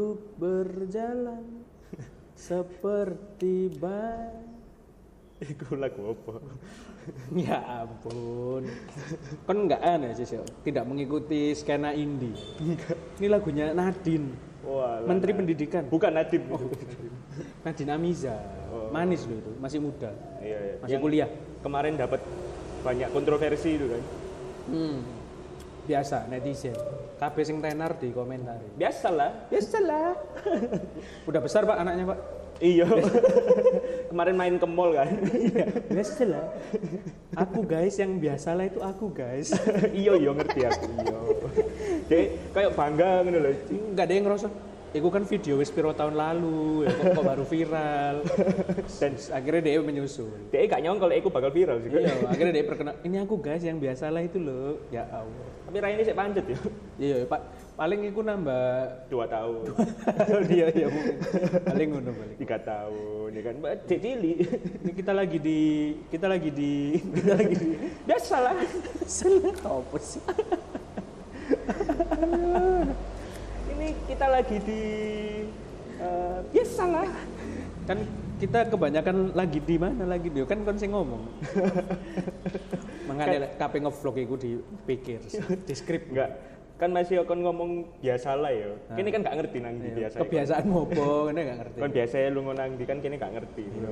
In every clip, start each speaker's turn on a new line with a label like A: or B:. A: berjalan seperti bay.
B: Iku lagu apa?
A: Ya ampun. Kan enggak aneh sih, Sil. tidak mengikuti skena indie. Ini lagunya Nadine,
B: Wah, Oh,
A: Menteri Pendidikan.
B: bukan Nadib.
A: Nadine Amiza.
B: Oh.
A: Manis loh itu, masih muda.
B: Iya, iya.
A: Masih
B: Yang
A: kuliah.
B: kemarin dapat banyak kontroversi itu kan.
A: Hmm. Biasa netizen. Kabeh sing tenar di komentari.
B: Biasalah.
A: Ya Biasalah. Udah besar Pak anaknya, Pak.
B: Iya. kemarin main ke mall kan.
A: Biasalah. Aku guys yang biasalah itu aku guys.
B: iya, iya ngerti aku. Iya. Jadi kayak bangga ngono lho.
A: Enggak ada yang ngerasa. Iku kan video wis piro tahun lalu, ya kok, kok baru viral.
B: Dan
A: Akhirnya dia menyusul.
B: dia gak nyongkol aku bakal viral sih.
A: Iya, akhirnya dia perkenal. Ini aku guys yang biasalah itu loh. Ya Allah.
B: Tapi Rai ini sih pancet ya.
A: Iya, Pak. Paling iku nambah
B: Dua tahun,
A: dia ya mungkin. Paling ngono paling.
B: tiga tahun, ya kan. Mbak, Dek cili.
A: Ini kita lagi di kita lagi di kita lagi di
B: Biasalah.
A: Salah apa sih?
B: Ini kita lagi di eh, biasalah.
A: Kan kita kebanyakan lagi di mana lagi dia kan kon sing ngomong. Mengada kape ngevlog iku dipikir di skrip
B: Enggak. Kan masih akan ngomong biasalah ya. Kini kan gak ngerti nang di biasa.
A: Iya, kebiasaan ngopo ngene gak ngerti.
B: Kan biasanya lu ngonang di kan kini gak ngerti.
A: Iya.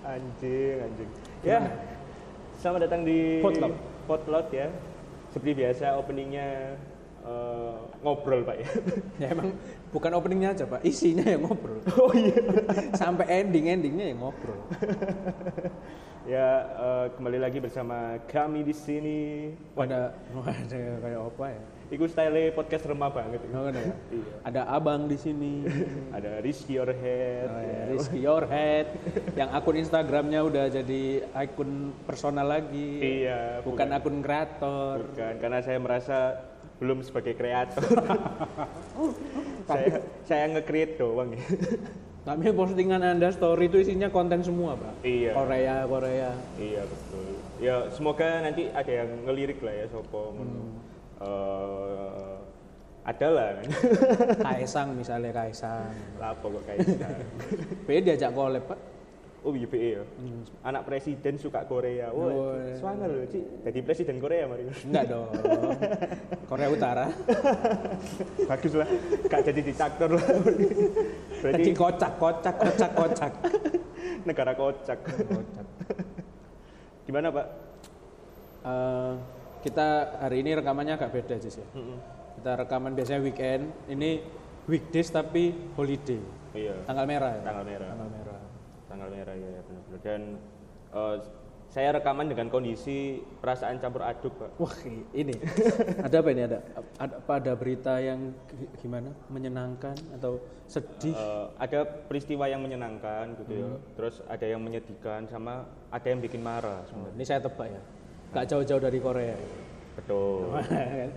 B: anjing, anjing. Ya. Selamat datang di
A: Potlot.
B: Potlot ya. Seperti biasa openingnya eh, ngobrol Pak ya.
A: Ya emang bukan openingnya aja pak, isinya ya ngobrol.
B: Oh iya.
A: Sampai ending endingnya ya ngobrol.
B: ya eh, kembali lagi bersama kami di sini. Wah,
A: Ada ada kayak apa ya?
B: itu style podcast remah banget.
A: Nggak ada ya?
B: Iya.
A: Ada abang di sini.
B: Ada Rizky Orhead.
A: Oh,
B: ya.
A: ya. Rizky Your Head yang akun Instagramnya udah jadi akun personal lagi
B: Iya,
A: bukan akun kreator
B: Bukan, karena saya merasa belum sebagai kreator. saya saya nge-create doang ya.
A: tapi postingan anda story itu isinya konten semua pak
B: Iya.
A: Korea Korea
B: iya betul. Ya semoga nanti ada yang ngelirik lah ya sopo ngono. Eh, ada lah kan.
A: Kaisang misalnya Kaisang
B: Lapo kok kayak gitu?
A: P diajak collab pak
B: Oh YBE ya. Anak presiden suka Korea. Wah,
A: Oh,
B: Cik, swanger loh, Cik. Jadi presiden Korea mari.
A: enggak dong Korea Utara
B: Bagus lah. Gak jadi diktator lah.
A: jadi
B: Berarti
A: kocak kocak kocak kocak
B: negara kocak.
A: kocak
B: Gimana, Pak?
A: Eh, kita hari ini rekamannya agak beda aja sih kita rekaman biasanya weekend ini weekdays tapi holiday
B: Iya.
A: tanggal merah ya
B: Tanggal merah.
A: tanggal merah
B: tanggal merah ya, ya benar-benar dan eh, saya rekaman dengan kondisi perasaan campur aduk pak
A: wah i- ini ada apa ini ada ada apa ada berita yang gi- gimana menyenangkan atau sedih
B: Eh, ada peristiwa yang menyenangkan gitu ya
A: Hmm.
B: terus ada yang menyedihkan sama ada yang bikin marah sebenarnya
A: ini saya tebak ya gak jauh-jauh dari Korea
B: betul
A: Hmm.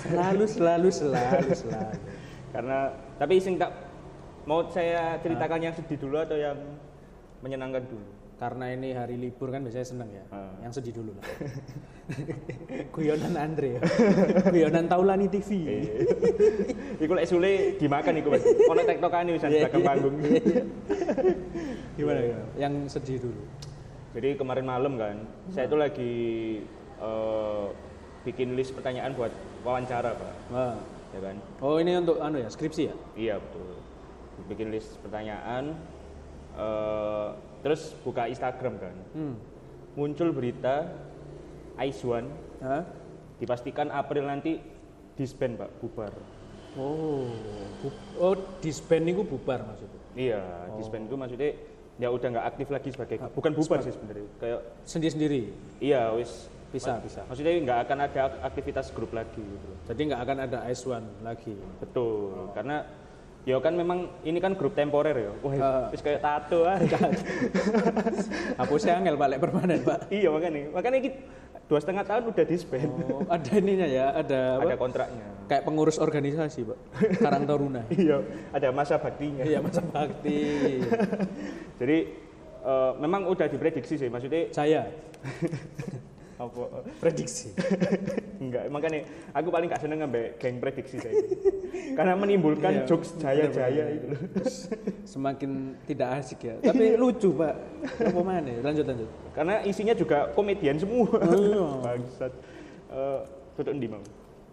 A: selalu selalu selalu selalu
B: karena tapi sing tak mau saya ceritakan
A: Hmm.
B: yang sedih dulu atau yang menyenangkan dulu
A: karena ini hari libur kan biasanya seneng ya
B: Ah.
A: yang sedih dulu lah guyonan Andre ya guyonan Taulani TV
B: Iya, Iku lek sule dimakan iku Mas. Ono tektokan wis
A: Iya,
B: belakang
A: iya,
B: panggung.
A: gimana ya yang sedih dulu
B: Jadi kemarin malam kan, saya itu lagi eh, bikin list pertanyaan buat wawancara pak,
A: Wah.
B: ya kan?
A: oh ini untuk anu ya skripsi ya
B: Iya betul. Bikin list pertanyaan, eh, terus buka Instagram kan,
A: hmm.
B: muncul berita Aizwan
A: Hah?
B: dipastikan April nanti disband pak, bubar.
A: Oh, bu- oh disband itu bubar maksudnya.
B: Iya, disband itu maksudnya ya udah nggak aktif lagi sebagai bukan bubar sih sebenarnya, kayak
A: Sendiri-sendiri,
B: iya wis
A: bisa bisa.
B: maksudnya nggak akan ada aktivitas grup lagi gitu.
A: Jadi nggak akan ada S1 lagi.
B: Betul, karena ya kan memang ini kan grup temporer ya.
A: Ah.
B: Wah, terus kayak tato ah.
A: Hapusnya ya, angel balik permanen pak.
B: iya makanya, makanya kita dua setengah tahun udah disband,
A: Oh, ada ininya ya, ada, apa?
B: ada kontraknya.
A: kayak pengurus organisasi pak, Karang Taruna.
B: Iya, ada masa baktinya.
A: Iya masa bakti.
B: Jadi eh, memang udah diprediksi sih, maksudnya
A: Saya
B: apa?
A: prediksi.
B: Enggak, makanya aku paling gak seneng ambek geng prediksi saya. karena menimbulkan
A: Iya,
B: jokes jaya-jaya itu loh.
A: Semakin tidak asik ya. Tapi lucu, Pak. Apa mana? Lanjut lanjut.
B: karena isinya juga komedian semua
A: Iya.
B: bangsat Eh, tutup di bang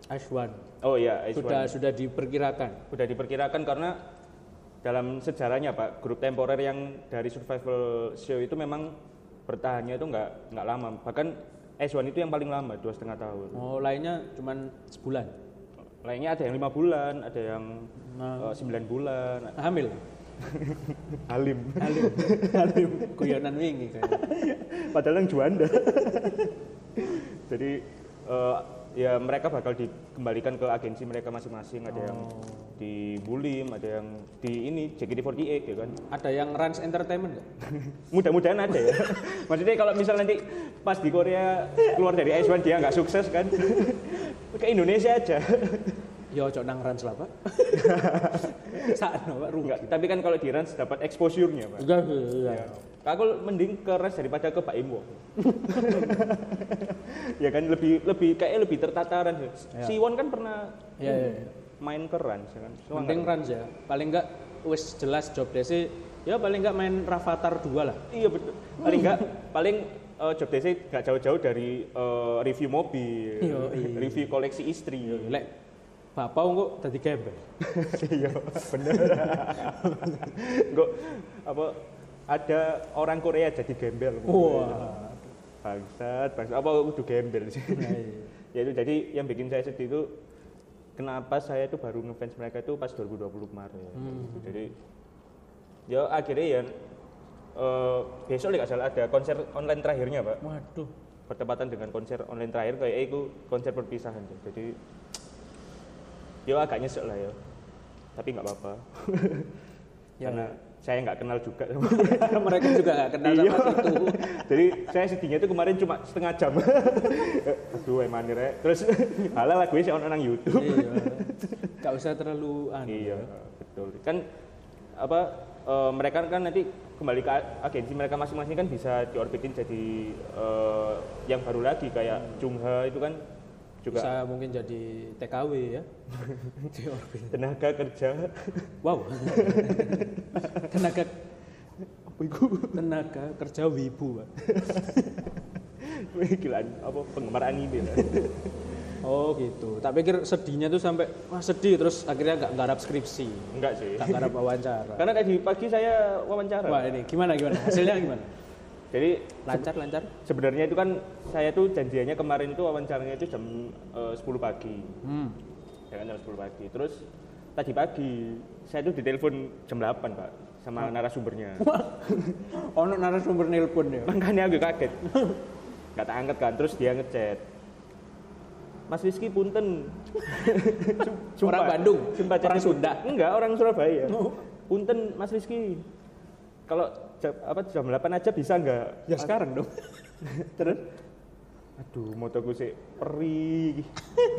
A: Ashwan.
B: oh iya Ice
A: Sudah
B: One.
A: sudah diperkirakan.
B: Udah diperkirakan karena dalam sejarahnya pak grup temporer yang dari survival show itu memang bertahannya itu nggak nggak lama bahkan S1 itu yang paling lama dua setengah tahun
A: Oh, lainnya cuman sebulan.
B: lainnya ada yang lima bulan ada yang eh, sembilan bulan
A: Hamil.
B: halim
A: Halim. Halim. Guyonan wingi kayaknya.
B: padahal yang juanda jadi eh, ya mereka bakal dikembalikan ke agensi mereka masing-masing ada yang di Bulim ada yang di ini JKT48 ya kan
A: Ada yang Rans Entertainment nggak?
B: mudah-mudahan ada ya maksudnya kalau misal nanti pas di Korea keluar dari S1 dia nggak sukses kan ke Indonesia aja
A: Ya ojo nang Rans lah, Pak. Sakno, Pak, rugi.
B: Nggak, tapi kan kalau di Rans dapat exposure-nya pak
A: Enggak, enggak.
B: Ya. Aku mending ke Rans daripada ke Pak Imwo. ya kan lebih lebih kayak lebih tertata Rans. Siwon kan pernah
A: Ya, ya, ya.
B: main ke Rans ya kan. Cuma
A: Penting Rans ya. Paling enggak wis jelas job desi ya paling enggak main Rafathar 2 lah.
B: Iya betul. Paling enggak paling eh, job desa nggak jauh-jauh dari eh, review mobil,
A: Yoi.
B: review koleksi istri.
A: Lek bapak kok tadi gembel.
B: Iya, bener. Enggak apa ada orang Korea jadi gembel.
A: Wah.
B: Bangsat, bangsat. Apa aku kudu gembel sih? ya itu jadi yang bikin saya sedih itu kenapa saya itu baru ngefans mereka itu pas 2020 kemarin. Jadi ya akhirnya ya eh, besok nggak salah ada konser online terakhirnya, Pak.
A: Waduh.
B: Bertepatan dengan konser online terakhir kayak itu konser perpisahan. Jadi ya agak nyesek lah ya. Tapi nggak apa-apa.
A: Ya,
B: Karena saya nggak kenal juga sama
A: Mereka juga nggak kenal
B: Iya.
A: sama situ.
B: Jadi saya sedihnya itu kemarin cuma setengah jam. Aduh, emang nih, Rek. Terus ala lagunya sih orang YouTube.
A: Iya. Enggak usah terlalu anu.
B: Iya, betul. Kan apa eh, mereka kan nanti kembali ke a- agensi mereka masing-masing kan bisa diorbitin jadi eh, yang baru lagi kayak Jungha itu kan juga
A: Hmm. Bisa mungkin jadi TKW ya. Di orbit.
B: tenaga kerja
A: Wow. tenaga
B: apa itu
A: tenaga kerja wibu, Pak.
B: gilaan apa penggemar anime lah.
A: Oh gitu. Tak pikir sedihnya tuh sampai wah sedih terus akhirnya nggak ngarap skripsi,
B: enggak sih
A: nggak ngarap wawancara.
B: karena tadi pagi saya wawancara
A: Wah ini gimana gimana hasilnya gimana?
B: jadi
A: Lancar lancar.
B: Sebenarnya itu kan saya tuh janjiannya kemarin itu wawancaranya itu jam eh, 10 pagi.
A: Hmm.
B: Ya kan jam 10 pagi. Terus tadi pagi saya tuh ditelepon jam 8, Pak, sama narasumbernya.
A: Ono narasumber nelpon ya.
B: Makanya agak kaget. Gak tak angkat kan, terus dia ngechat. Mas Rizky Punten. Sum-
A: Orang
B: sumpah.
A: Bandung?
B: Sumpah,
A: Orang
B: jadi-
A: Sunda?
B: Enggak, orang Surabaya.
A: Oh.
B: Punten Mas Rizky. Kalau jam, apa jam 8 aja bisa enggak?
A: Ya sekarang dong.
B: Terus? Aduh, motoku sih perih.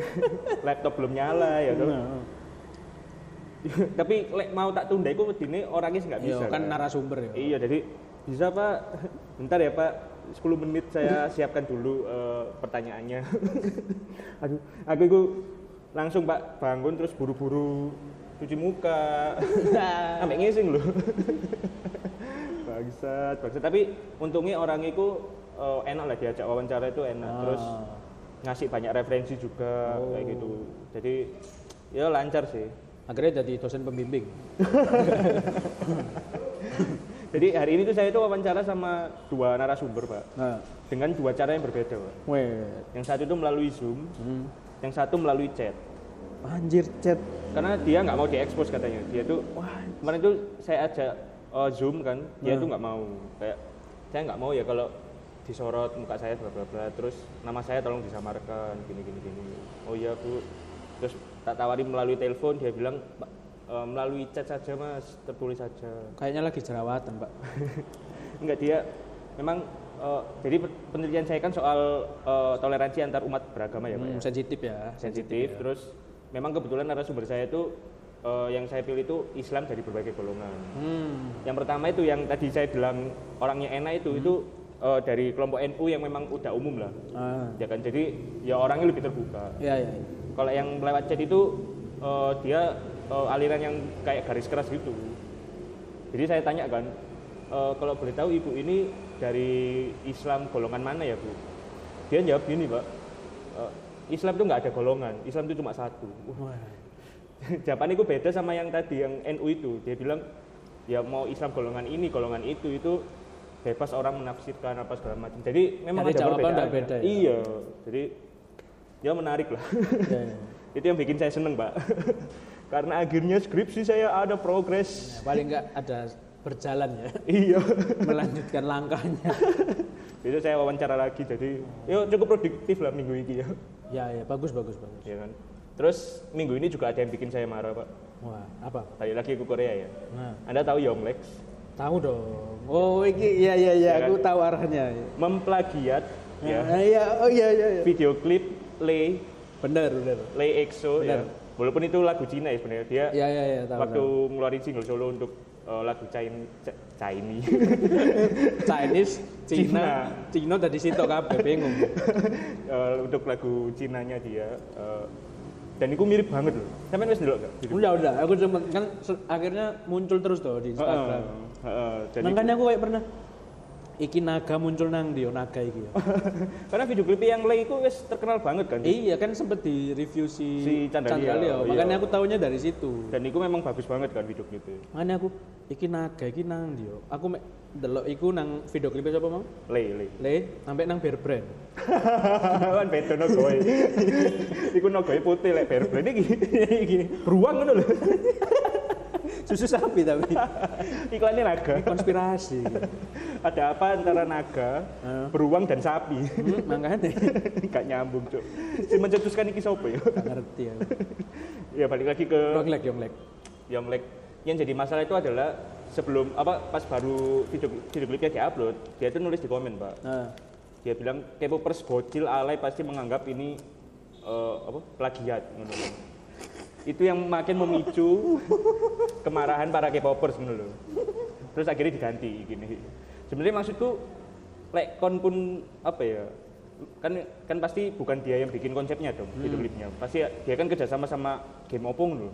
B: Laptop belum nyala ya kan.
A: Nah.
B: Tapi lek mau tak tunda iku wedine orangnya nggak
A: Iya
B: bisa.
A: kan
B: kan.
A: narasumber ya.
B: Iya, jadi bisa Pak. Bentar ya Pak, 10 menit saya siapkan dulu eh, pertanyaannya. Aduh, aku itu langsung Pak bangun terus buru-buru cuci muka. Sampai ngising loh. bangsat, bangsat. Tapi untungnya orang itu eh, enak lah diajak wawancara itu enak.
A: Ah.
B: Terus ngasih banyak referensi juga kayak gitu. Jadi ya lancar sih.
A: Akhirnya jadi dosen pembimbing.
B: Jadi hari ini tuh saya itu wawancara sama dua narasumber, Pak.
A: Nah,
B: Dengan dua cara yang berbeda, Pak.
A: weh, Hmm.
B: Yang satu itu melalui Zoom, yang satu melalui chat.
A: anjir chat.
B: Karena dia nggak mau diekspos katanya. Dia tuh wah, kemarin tuh saya ajak eh, Zoom kan, dia tuh nggak mau. Kayak saya nggak mau ya kalau disorot muka saya bla bla bla terus nama saya tolong disamarkan gini gini gini. Oh iya, Bu. Terus tak tawari melalui telepon, dia bilang "Pak, eh, melalui chat saja Mas, tertulis saja.
A: Kayaknya lagi jerawatan pak.
B: Enggak dia memang eh, jadi penelitian saya kan soal eh, toleransi antar umat beragama ya Pak ya.
A: Hmm, sensitif ya.
B: Sensitif terus memang kebetulan narasumber saya itu eh, yang saya pilih itu Islam dari berbagai golongan.
A: Hmm.
B: Yang pertama itu yang tadi saya bilang orangnya enak itu itu eh, dari kelompok NU yang memang udah umum lah.
A: Ah.
B: Ya kan jadi ya orangnya lebih terbuka.
A: Ya ya.
B: Kalau yang lewat chat itu eh, dia eh, aliran yang kayak garis keras gitu. Jadi saya tanya kan, "Eh, kalau boleh tahu ibu ini dari Islam golongan mana ya bu? Dia jawab gini pak, "Eh, Islam itu nggak ada golongan, Islam itu cuma satu. Wah. Jawabannya itu beda sama yang tadi yang NU itu. Dia bilang ya mau Islam golongan ini, golongan itu itu bebas orang menafsirkan apa segala macam. Jadi memang
A: Jadi
B: ada
A: jawaban
B: perbedaan.
A: nggak beda ya?
B: Iya, jadi ya menarik lah.
A: Ya, ya.
B: itu yang bikin saya seneng pak karena akhirnya skripsi saya ada progres
A: Nah, paling nggak ada berjalan ya
B: iya
A: melanjutkan langkahnya
B: itu saya wawancara lagi jadi yuk cukup produktif lah minggu ini ya
A: ya ya bagus bagus bagus
B: Iya kan terus minggu ini juga ada yang bikin saya marah pak
A: wah apa
B: balik lagi ke Korea ya
A: nah
B: anda tahu Yonglex
A: tahu dong oh iki ya ya ya
B: Ya kan?
A: aku tahu arahnya
B: memplagiat
A: ya
B: ya
A: Ah, iya oh iya iya iya.
B: video klip Lay
A: benar benar
B: Lay EXO ya
A: Benar.
B: walaupun itu lagu Cina ya sebenarnya dia
A: ya ya ya tahu
B: waktu
A: tahu.
B: ngeluarin single solo untuk eh, lagu Chinese Chinese
A: Chinese Cina Cina dari situ kabeh bingung
B: Eh, untuk lagu Cinanya dia eh, dan itu mirip banget loh. Sampai wis delok gak?
A: udah udah aku cuma kan se- akhirnya muncul terus tuh di Instagram
B: Heeh, heeh. Jadi
A: makanya aku kayak pernah iki naga muncul nang dia naga iki ya.
B: karena video klip yang Lay itu wis terkenal banget kan.
A: iya kan sempet di review si,
B: Si Chandra Leo,
A: Leo.
B: iya.
A: makanya aku taunya dari situ
B: Dan itu memang bagus banget kan video klipnya.
A: makanya aku iki naga iki nang dia aku mek delok iku nang video klipnya siapa mau
B: Lay, Lay.
A: le sampai nang bear brand
B: kan beda no goy. Iku no goy putih lek bare brand iki. Iki ruang ngono lho.
A: susu sapi tapi
B: Iklannya naga.
A: konspirasi gitu.
B: Ada apa antara naga,
A: Heeh.
B: beruang dan sapi?
A: Hmm, makanya
B: Gak nyambung, Cuk. Si mencetuskan iki sapa ya?
A: Nggak ngerti aku
B: Ya balik lagi ke
A: Yonglek, Yonglek.
B: yang like Ya, yang jadi masalah itu adalah sebelum apa pas baru video video klipnya diupload dia itu nulis di komen pak
A: Nah,
B: dia bilang K-popers bocil alay pasti menganggap ini eh, apa plagiat ngono lho. itu yang makin memicu kemarahan para K-popers ngono lho. terus akhirnya diganti gini sebenarnya maksudku lek kon pun apa ya kan kan pasti bukan dia yang bikin konsepnya dong video klipnya pasti dia kan kerjasama sama game opung dulu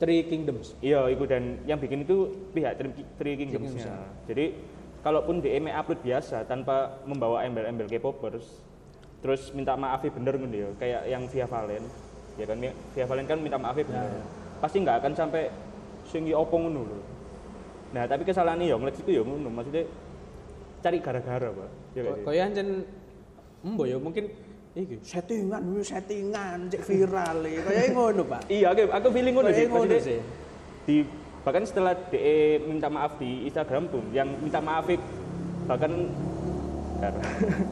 A: Three Kingdoms.
B: Iya, itu dan yang bikin itu pihak Tri- Three Kingdoms-nya. Jadi kalaupun DM upload biasa tanpa membawa embel-embel K-popers, terus minta maafnya bener gitu ya, kayak yang Via Valen, ya kan Via Valen kan minta maafnya bener.
A: Ya,
B: Pasti nggak akan sampai singi opong ngono lho. Nah, tapi kesalahan ya ngeliat itu ya ngono, maksudnya cari gara-gara, Pak. Ya, nggak sih?
A: Kaya anjen embo ya mungkin iki settingan, wih, settingan cek viral e. Kaya ngono, Pak.
B: Iya, aku, aku feeling ngono
A: Kaya
B: sih.
A: ngono
B: Maksudnya,
A: sih.
B: di bahkan setelah DE minta maaf di Instagram pun yang minta maaf ik- bahkan bentar.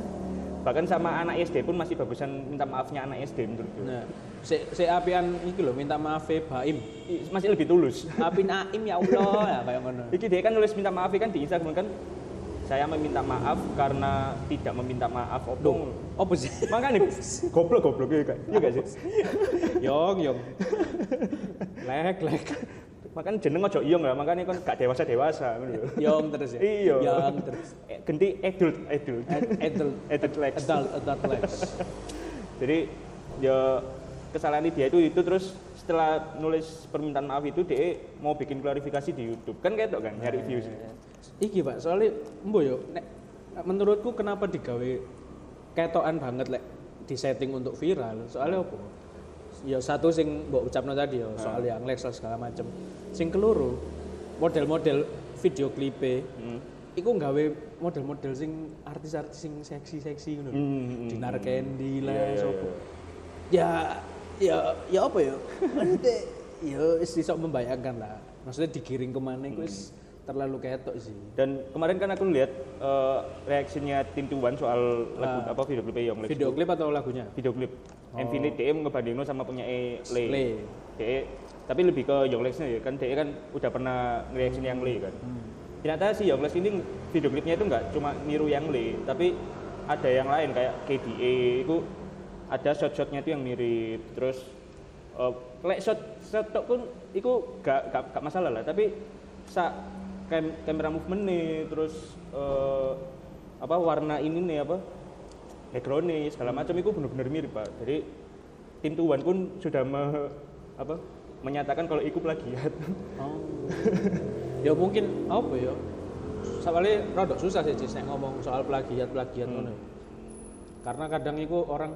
B: bahkan sama anak SD pun masih bagusan minta maafnya anak SD menurutku
A: Nah, si, si apian iki lho minta maaf e Baim.
B: I- masih lebih tulus
A: Apin Aim ya Allah, ya kaya ngono.
B: iki DE kan nulis minta maaf kan di Instagram kan saya meminta maaf karena tidak meminta maaf
A: Duh,
B: opung
A: opo sih?
B: makanya goblok goblok ya kan iya gak sih
A: Yong, yong. Lek, lek.
B: makanya jeneng ojo iyong lah makanya kan gak dewasa dewasa
A: Yong terus ya.
B: Iya.
A: Yong terus.
B: ganti adult adult
A: Ad- Eh, Adult,
B: adult lex
A: adult, adult lex.
B: jadi ya kesalahan dia itu itu terus setelah nulis permintaan maaf itu dia mau bikin klarifikasi di YouTube kan kayak itu kan
A: Iya,
B: nyari views
A: Iki pak, soalnya embo yo, nek, menurutku kenapa digawe ketokan banget lek disetting untuk viral? Soalnya apa? Ya satu sing mbok ucapno tadi ya, soal
B: Hmm.
A: yang Lex lah segala macem. Sing keluru, model-model video klipe,
B: Hmm.
A: iku nggawe model-model sing artis-artis sing seksi-seksi ngono. lho.
B: Hmm, hmm,
A: Dinar Candy lah,
B: Iya, iya,
A: sopo.
B: iya.
A: Ya, ya, ya apa ya? Maksudnya, ya wis iso membayangkan lah. Maksudnya digiring kemana? Iku wis
B: Hmm.
A: terlalu ketok sih.
B: dan kemarin kan aku lihat eh, reaksinya tim Tuan soal lagu apa video klip yang
A: Ah. Video klip atau lagunya?
B: video klip MV ini dia ngebandingin sama punya E Le,
A: Le.
B: DE, tapi lebih ke Yonglexnya ya kan DE kan udah pernah reaction yang Le kan ternyata si Yonglex ini video klipnya itu nggak cuma niru yang Le tapi ada yang lain kayak KDE itu ada shot-shotnya itu yang mirip terus eh, lek shot shot tok pun itu gak, gak, gak masalah lah tapi sa kam- kamera movement nih terus eh, apa warna ini nih apa background segala macam itu benar-benar mirip pak jadi tim tuan pun sudah me, apa menyatakan kalau ikut plagiat.
A: Oh. ya mungkin apa ya? Soalnya rada susah sih Cis, nek ngomong soal
B: Hmm.
A: plagiat-plagiat ngono. ya. Karena kadang itu orang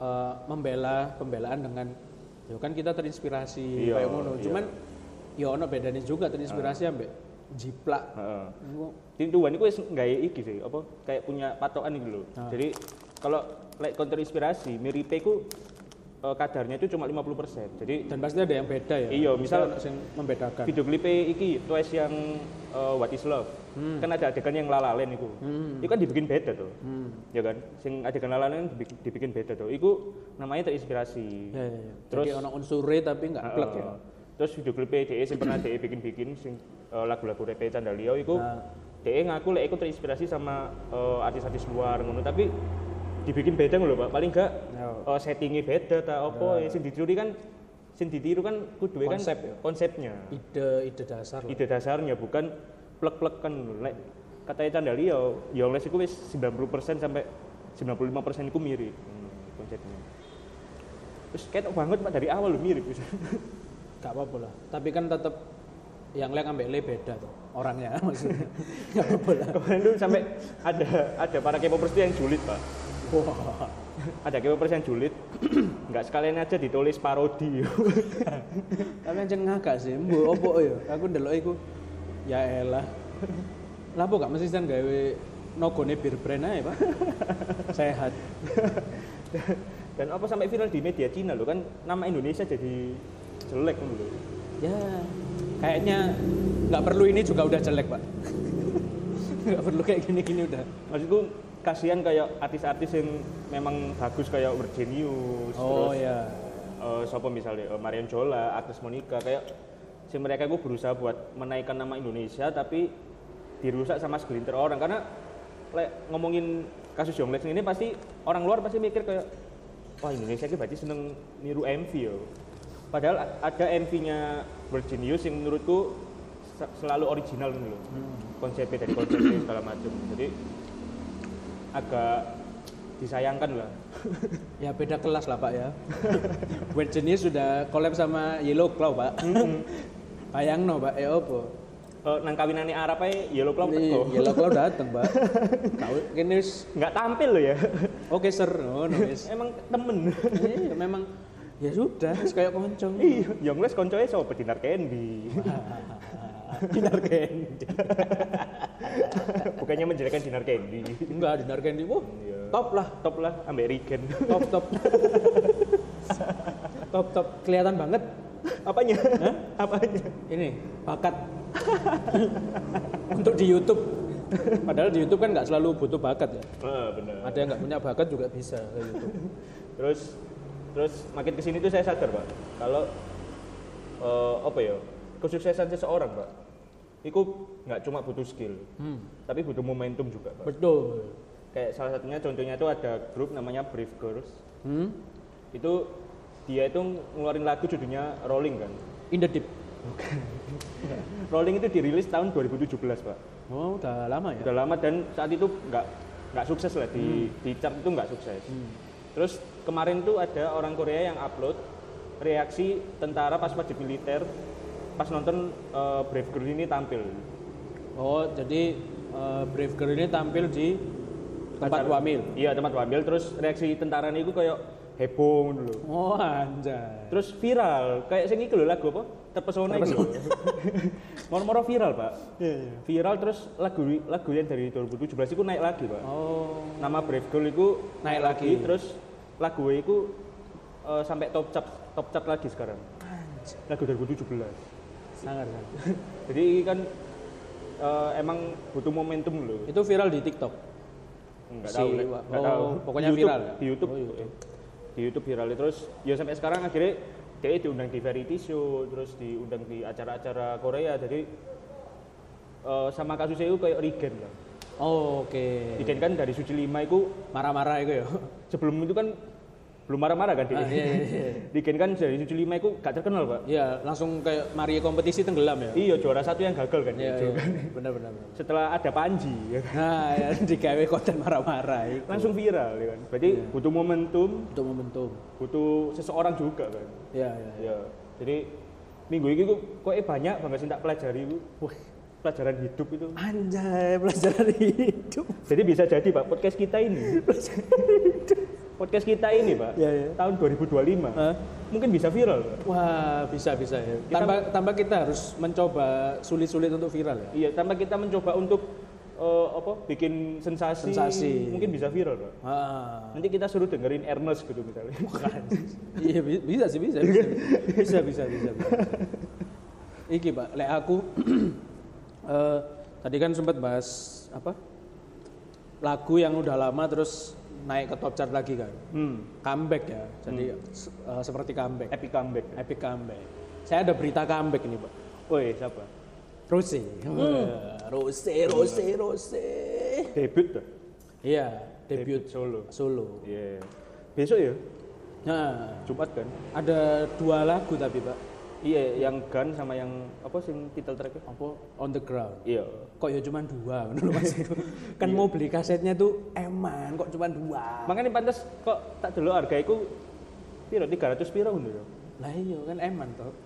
A: eh, membela pembelaan dengan ya kan kita terinspirasi
B: Iya,
A: kayak ngono.
B: iya. Ah.
A: Cuman ya ono bedanya juga terinspirasi ambek jiplak.
B: Heeh.
A: Ngono.
B: Tintuan itu wis nggawe iki sih, apa kayak punya patokan gitu loh.
A: Ah.
B: Jadi kalau lek konter inspirasi, miripe ku eh, kadarnya itu cuma 50%. Jadi
A: Dan pasti ada yang beda ya.
B: Iya,
A: Pasti
B: misal-
A: ono sing membedakan.
B: video klip iki Twice yang eh, What is Love.
A: Hmm.
B: Kan ada adegan yang lalalen itu. Itu kan dibikin beda tuh.
A: Hmm.
B: Ya kan? Sing adegan lalalen dibikin, dibikin beda tuh. Itu namanya terinspirasi.
A: Ya, ya, ya.
B: Terus-
A: Jadi
B: Ah,
A: ono unsure tapi nggak
B: Heeh.
A: plek ya.
B: Eh, Terus video klip DE sing pernah DE bikin-bikin sing eh, lagu-lagu repe Candaliau itu
A: Nah.
B: DE ngaku lek iku terinspirasi sama eh, artis-artis luar ngono tapi dibikin beda ngono lho, Pak. Paling enggak
A: Ya.
B: eh, settingnya beda ta apa sing dicuri kan sing ditiru kan kudu kan
A: Konsep ya.
B: konsepnya.
A: Ide ide dasar lah.
B: Ide dasarnya bukan plek-plek kan ngono. lek katanya Candaliau ya les iku wis 90% sampai 95% iku mirip hmm, konsepnya. Terus ketok banget Pak dari awal lho mirip.
A: Gak apa-apa lah. Tapi kan tetap yang lek ambek le beda tuh orangnya maksudnya. Gak apa-apa lah.
B: kemarin tuh sampai ada ada para K-popers tuh yang julid pak
A: Wah.
B: ada K-popers yang julid nggak sekalian aja ditulis parodi
A: Tapi anjing ngakak sih, mbo opo ya. Aku ndelok iku ya elah. Lah apa gak mesti sen gawe nogone bir brand ae, Pak. Sehat.
B: dan apa sampai viral di media Cina loh kan nama Indonesia jadi jelek kan dulu
A: Ya, kayaknya nggak perlu ini juga udah jelek, Pak. Nggak perlu kayak gini-gini udah.
B: maksudku kasihan kayak artis-artis yang memang bagus kayak Virginius
A: Oh
B: terus
A: ya.
B: eh, siapa misalnya eh, Marion Jola Agnes Monica kayak si mereka gue berusaha buat menaikkan nama Indonesia tapi dirusak sama segelintir orang karena lek ngomongin kasus Jonglet ini pasti orang luar pasti mikir kayak wah Indonesia ini berarti seneng niru MV yo padahal a- ada MV-nya Virginius yang menurutku se- selalu original gitu loh konsepnya dari konsepnya segala macam jadi agak disayangkan lah
A: Ya beda kelas lah Pak ya. Weird Genius sudah collab sama Yellow Claw Pak. Bayang no Pak, eh opo.
B: Eh, nang kawinane Arab ae Yellow Claw
A: Ini
B: teko.
A: Iya, Yellow Claw dateng Pak. Kau ini wis-
B: nggak tampil loh ya
A: oke ser, Oh, no, no wis.
B: emang temen
A: Iya memang ya sudah, wis kayak moncong.
B: iya yang les koncoe sopo dinar candy
A: Dinar Candy.
B: bukannya menjelekan dinar candy
A: Enggak, Dinar Candy. Wah,
B: Iya.
A: top lah.
B: top lah ambek Regen
A: Top top. top top kelihatan banget
B: apanya apanya
A: ini bakat untuk di YouTube. Padahal di YouTube kan nggak selalu butuh bakat ya.
B: ah benar
A: Ada yang nggak punya bakat juga bisa gitu. ke YouTube.
B: terus terus makin kesini tuh saya sadar pak kalau eh, apa ya kesuksesan seseorang pak itu nggak cuma butuh skill
A: Hmm.
B: tapi butuh momentum juga pak
A: Betul.
B: kayak salah satunya contohnya tuh ada grup namanya Brief Girls
A: Hmm?
B: itu dia itu ngeluarin lagu judulnya Rolling kan
A: In the deep.
B: Rolling itu dirilis tahun 2017 pak
A: Oh, udah lama ya.
B: udah lama dan saat itu nggak nggak sukses lah di di chart itu nggak sukses terus kemarin tuh ada orang Korea yang upload reaksi tentara pas wajib militer pas nonton eh, Brave Girl ini tampil
A: Oh, jadi eh, Brave Girl ini tampil di tempat wamil.
B: iya tempat wamil terus reaksi tentara ini kayak heboh dulu
A: Oh, anjay.
B: terus viral kayak sing iku lho lagu apa terpesona iku lho. moro-moro viral pak
A: Iya,
B: viral terus lagu lagu yang dari 2017 itu naik lagi pak
A: Oh,
B: nama Brave Girl itu
A: Naik lagi.
B: terus lagu E itu eh, sampai top chart top chart lagi sekarang lagu 2017
A: sangat. sangat.
B: jadi ini kan eh, emang butuh momentum loh
A: Itu viral di TikTok.
B: nggak
A: Si
B: tahu Lek.
A: Wa-
B: nggak
A: oh,
B: tahu
A: pokoknya
B: Di YouTube,
A: viral ya?
B: di YouTube,
A: Oh, YouTube.
B: di YouTube viral terus ya sampai sekarang akhirnya dia diundang di variety show terus diundang di acara-acara Korea jadi eh, sama kasusnya itu kayak Regen lah
A: Oh, oke.
B: Regen kan dari Suci Lima itu
A: Marah-marah itu ya.
B: sebelum itu kan belum marah-marah kan
A: Ah,
B: Dikin.
A: iya, iya, iya.
B: Dikin kan dari 75 itu gak terkenal pak.
A: Iya, langsung kayak Maria kompetisi tenggelam ya.
B: Iya juara satu yang gagal kan.
A: Iya,
B: Dikin.
A: iya. Benar benar. benar.
B: Setelah ada Panji ya
A: Nah,
B: kan.
A: ya, digawe konten marah-marah itu.
B: langsung viral ya kan. Berarti
A: Iya.
B: butuh momentum,
A: untuk momentum.
B: butuh seseorang juga kan.
A: Iya, iya. iya.
B: Ya. Jadi minggu ini kok koe banyak banget sih tak pelajari Bu.
A: Wah,
B: pelajaran hidup itu.
A: anjay, pelajaran hidup.
B: Jadi bisa jadi Pak podcast kita ini. podcast kita ini Pak.
A: Iya, iya.
B: Tahun 2025.
A: Hah?
B: Mungkin bisa viral. Pak.
A: Wah, bisa bisa ya.
B: Kita-
A: Tambah tambah kita harus mencoba sulit-sulit untuk viral ya.
B: Iya, tanpa kita mencoba untuk eh, apa? Bikin sensasi,
A: Sensasi.
B: mungkin bisa viral Pak.
A: Ah.
B: Nanti kita suruh dengerin Ernest gitu misalnya.
A: Iya bi- bisa sih bisa bisa bisa bisa bisa. bisa. Iki pak, lek aku eh, tadi kan sempat bahas apa lagu yang udah lama terus naik ke top chart lagi kan,
B: hmm,
A: comeback ya. Jadi se- eh, seperti comeback,
B: epic comeback.
A: epic comeback. Saya ada berita comeback ini pak.
B: Woi, siapa?
A: Rose, Eh, Rose, Rose, Rose.
B: Debut tuh.
A: Iya, debut
B: solo.
A: solo.
B: Iya. Besok ya,
A: Nah,
B: Jumat kan.
A: ada dua lagu tapi pak,
B: Iya, yang Gun sama yang apa sih title tracknya?
A: apa on the ground.
B: Iya.
A: kok ya cuma dua ngono lho maksudku. kan mau beli kasetnya tuh eman kok cuma dua
B: Makanya pantas kok tak dulu harga itu piro 300 piro ngono ya.
A: lah iya kan eman toh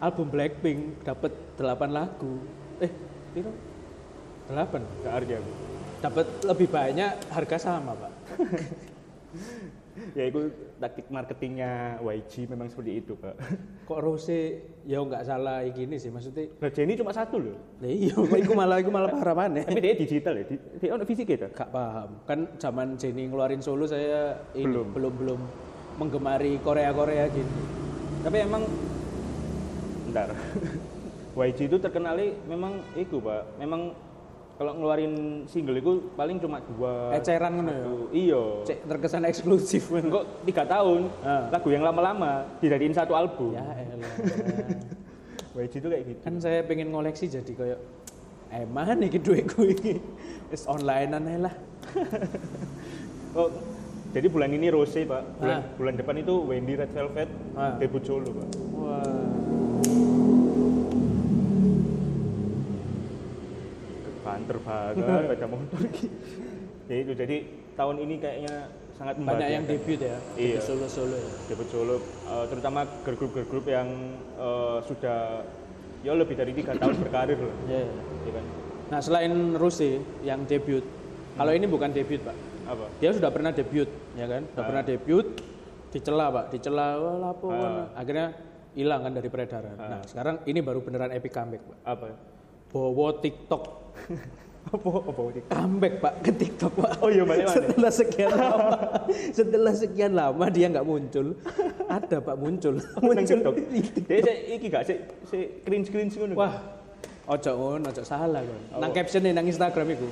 A: album Blackpink dapat delapan lagu eh
B: Piro?
A: delapan
B: Gak harga aku.
A: dapat lebih banyak harga sama pak
B: Ya itu taktik marketingnya YG memang seperti itu, Pak.
A: kok Rose ya nggak salah gini sih maksudnya
B: Nah, Jenny cuma satu loh.
A: lah iya kok iku malah iku malah parah maneh
B: Tapi dia digital ya, di- dia ono fisik ya.
A: gak paham kan zaman Jenny ngeluarin solo saya ini,
B: Belum.
A: belum belum menggemari Korea Korea gitu
B: Tapi emang bentar. YG itu terkenali memang itu, Pak. Memang kalau ngeluarin single itu paling cuma dua.
A: eceran ngono ya
B: satu. Iya.
A: cek terkesan eksklusif ngono.
B: Kok tiga tahun
A: Ah.
B: lagu yang lama-lama dijadiin satu album.
A: ya elah
B: YG itu kayak gitu.
A: kan saya pengen ngoleksi jadi kayak eman iki duitku iki wis onlinean ae lah
B: Oh, jadi bulan ini Rose pak, bulan,
A: Ah.
B: bulan depan itu Wendy Red Velvet
A: Ah.
B: debut solo pak.
A: wah
B: Banter banget pada motor. ya itu jadi tahun ini kayaknya sangat
A: banyak yang
B: membahagiakan.
A: debut ya
B: Iya.
A: solo solo ya
B: debut solo, eh, terutama girl group girl group yang eh, sudah ya lebih dari tiga tahun berkarir lah.
A: Iya.
B: Ya kan?
A: nah selain Rusi yang debut kalau ini bukan debut pak
B: Apa?
A: dia sudah pernah debut ya kan
B: Ah.
A: sudah pernah debut dicela pak dicela "Wah, lapo wah." akhirnya hilang kan dari peredaran
B: Ah.
A: nah sekarang ini baru beneran epic comeback pak
B: Apa?
A: bawa TikTok
B: apa? Apa?
A: comeback pak ke TikTok pak.
B: Oh iya, balik-balik.
A: Setelah sekian lama, setelah sekian lama dia nggak muncul. Ada pak muncul,
B: Nang
A: muncul.
B: TikTok. Jadi saya iki gak sih, saya cringe cringe ngono.
A: Wah, ojo ngono, ojo salah kan. Nang caption nang Instagram iku.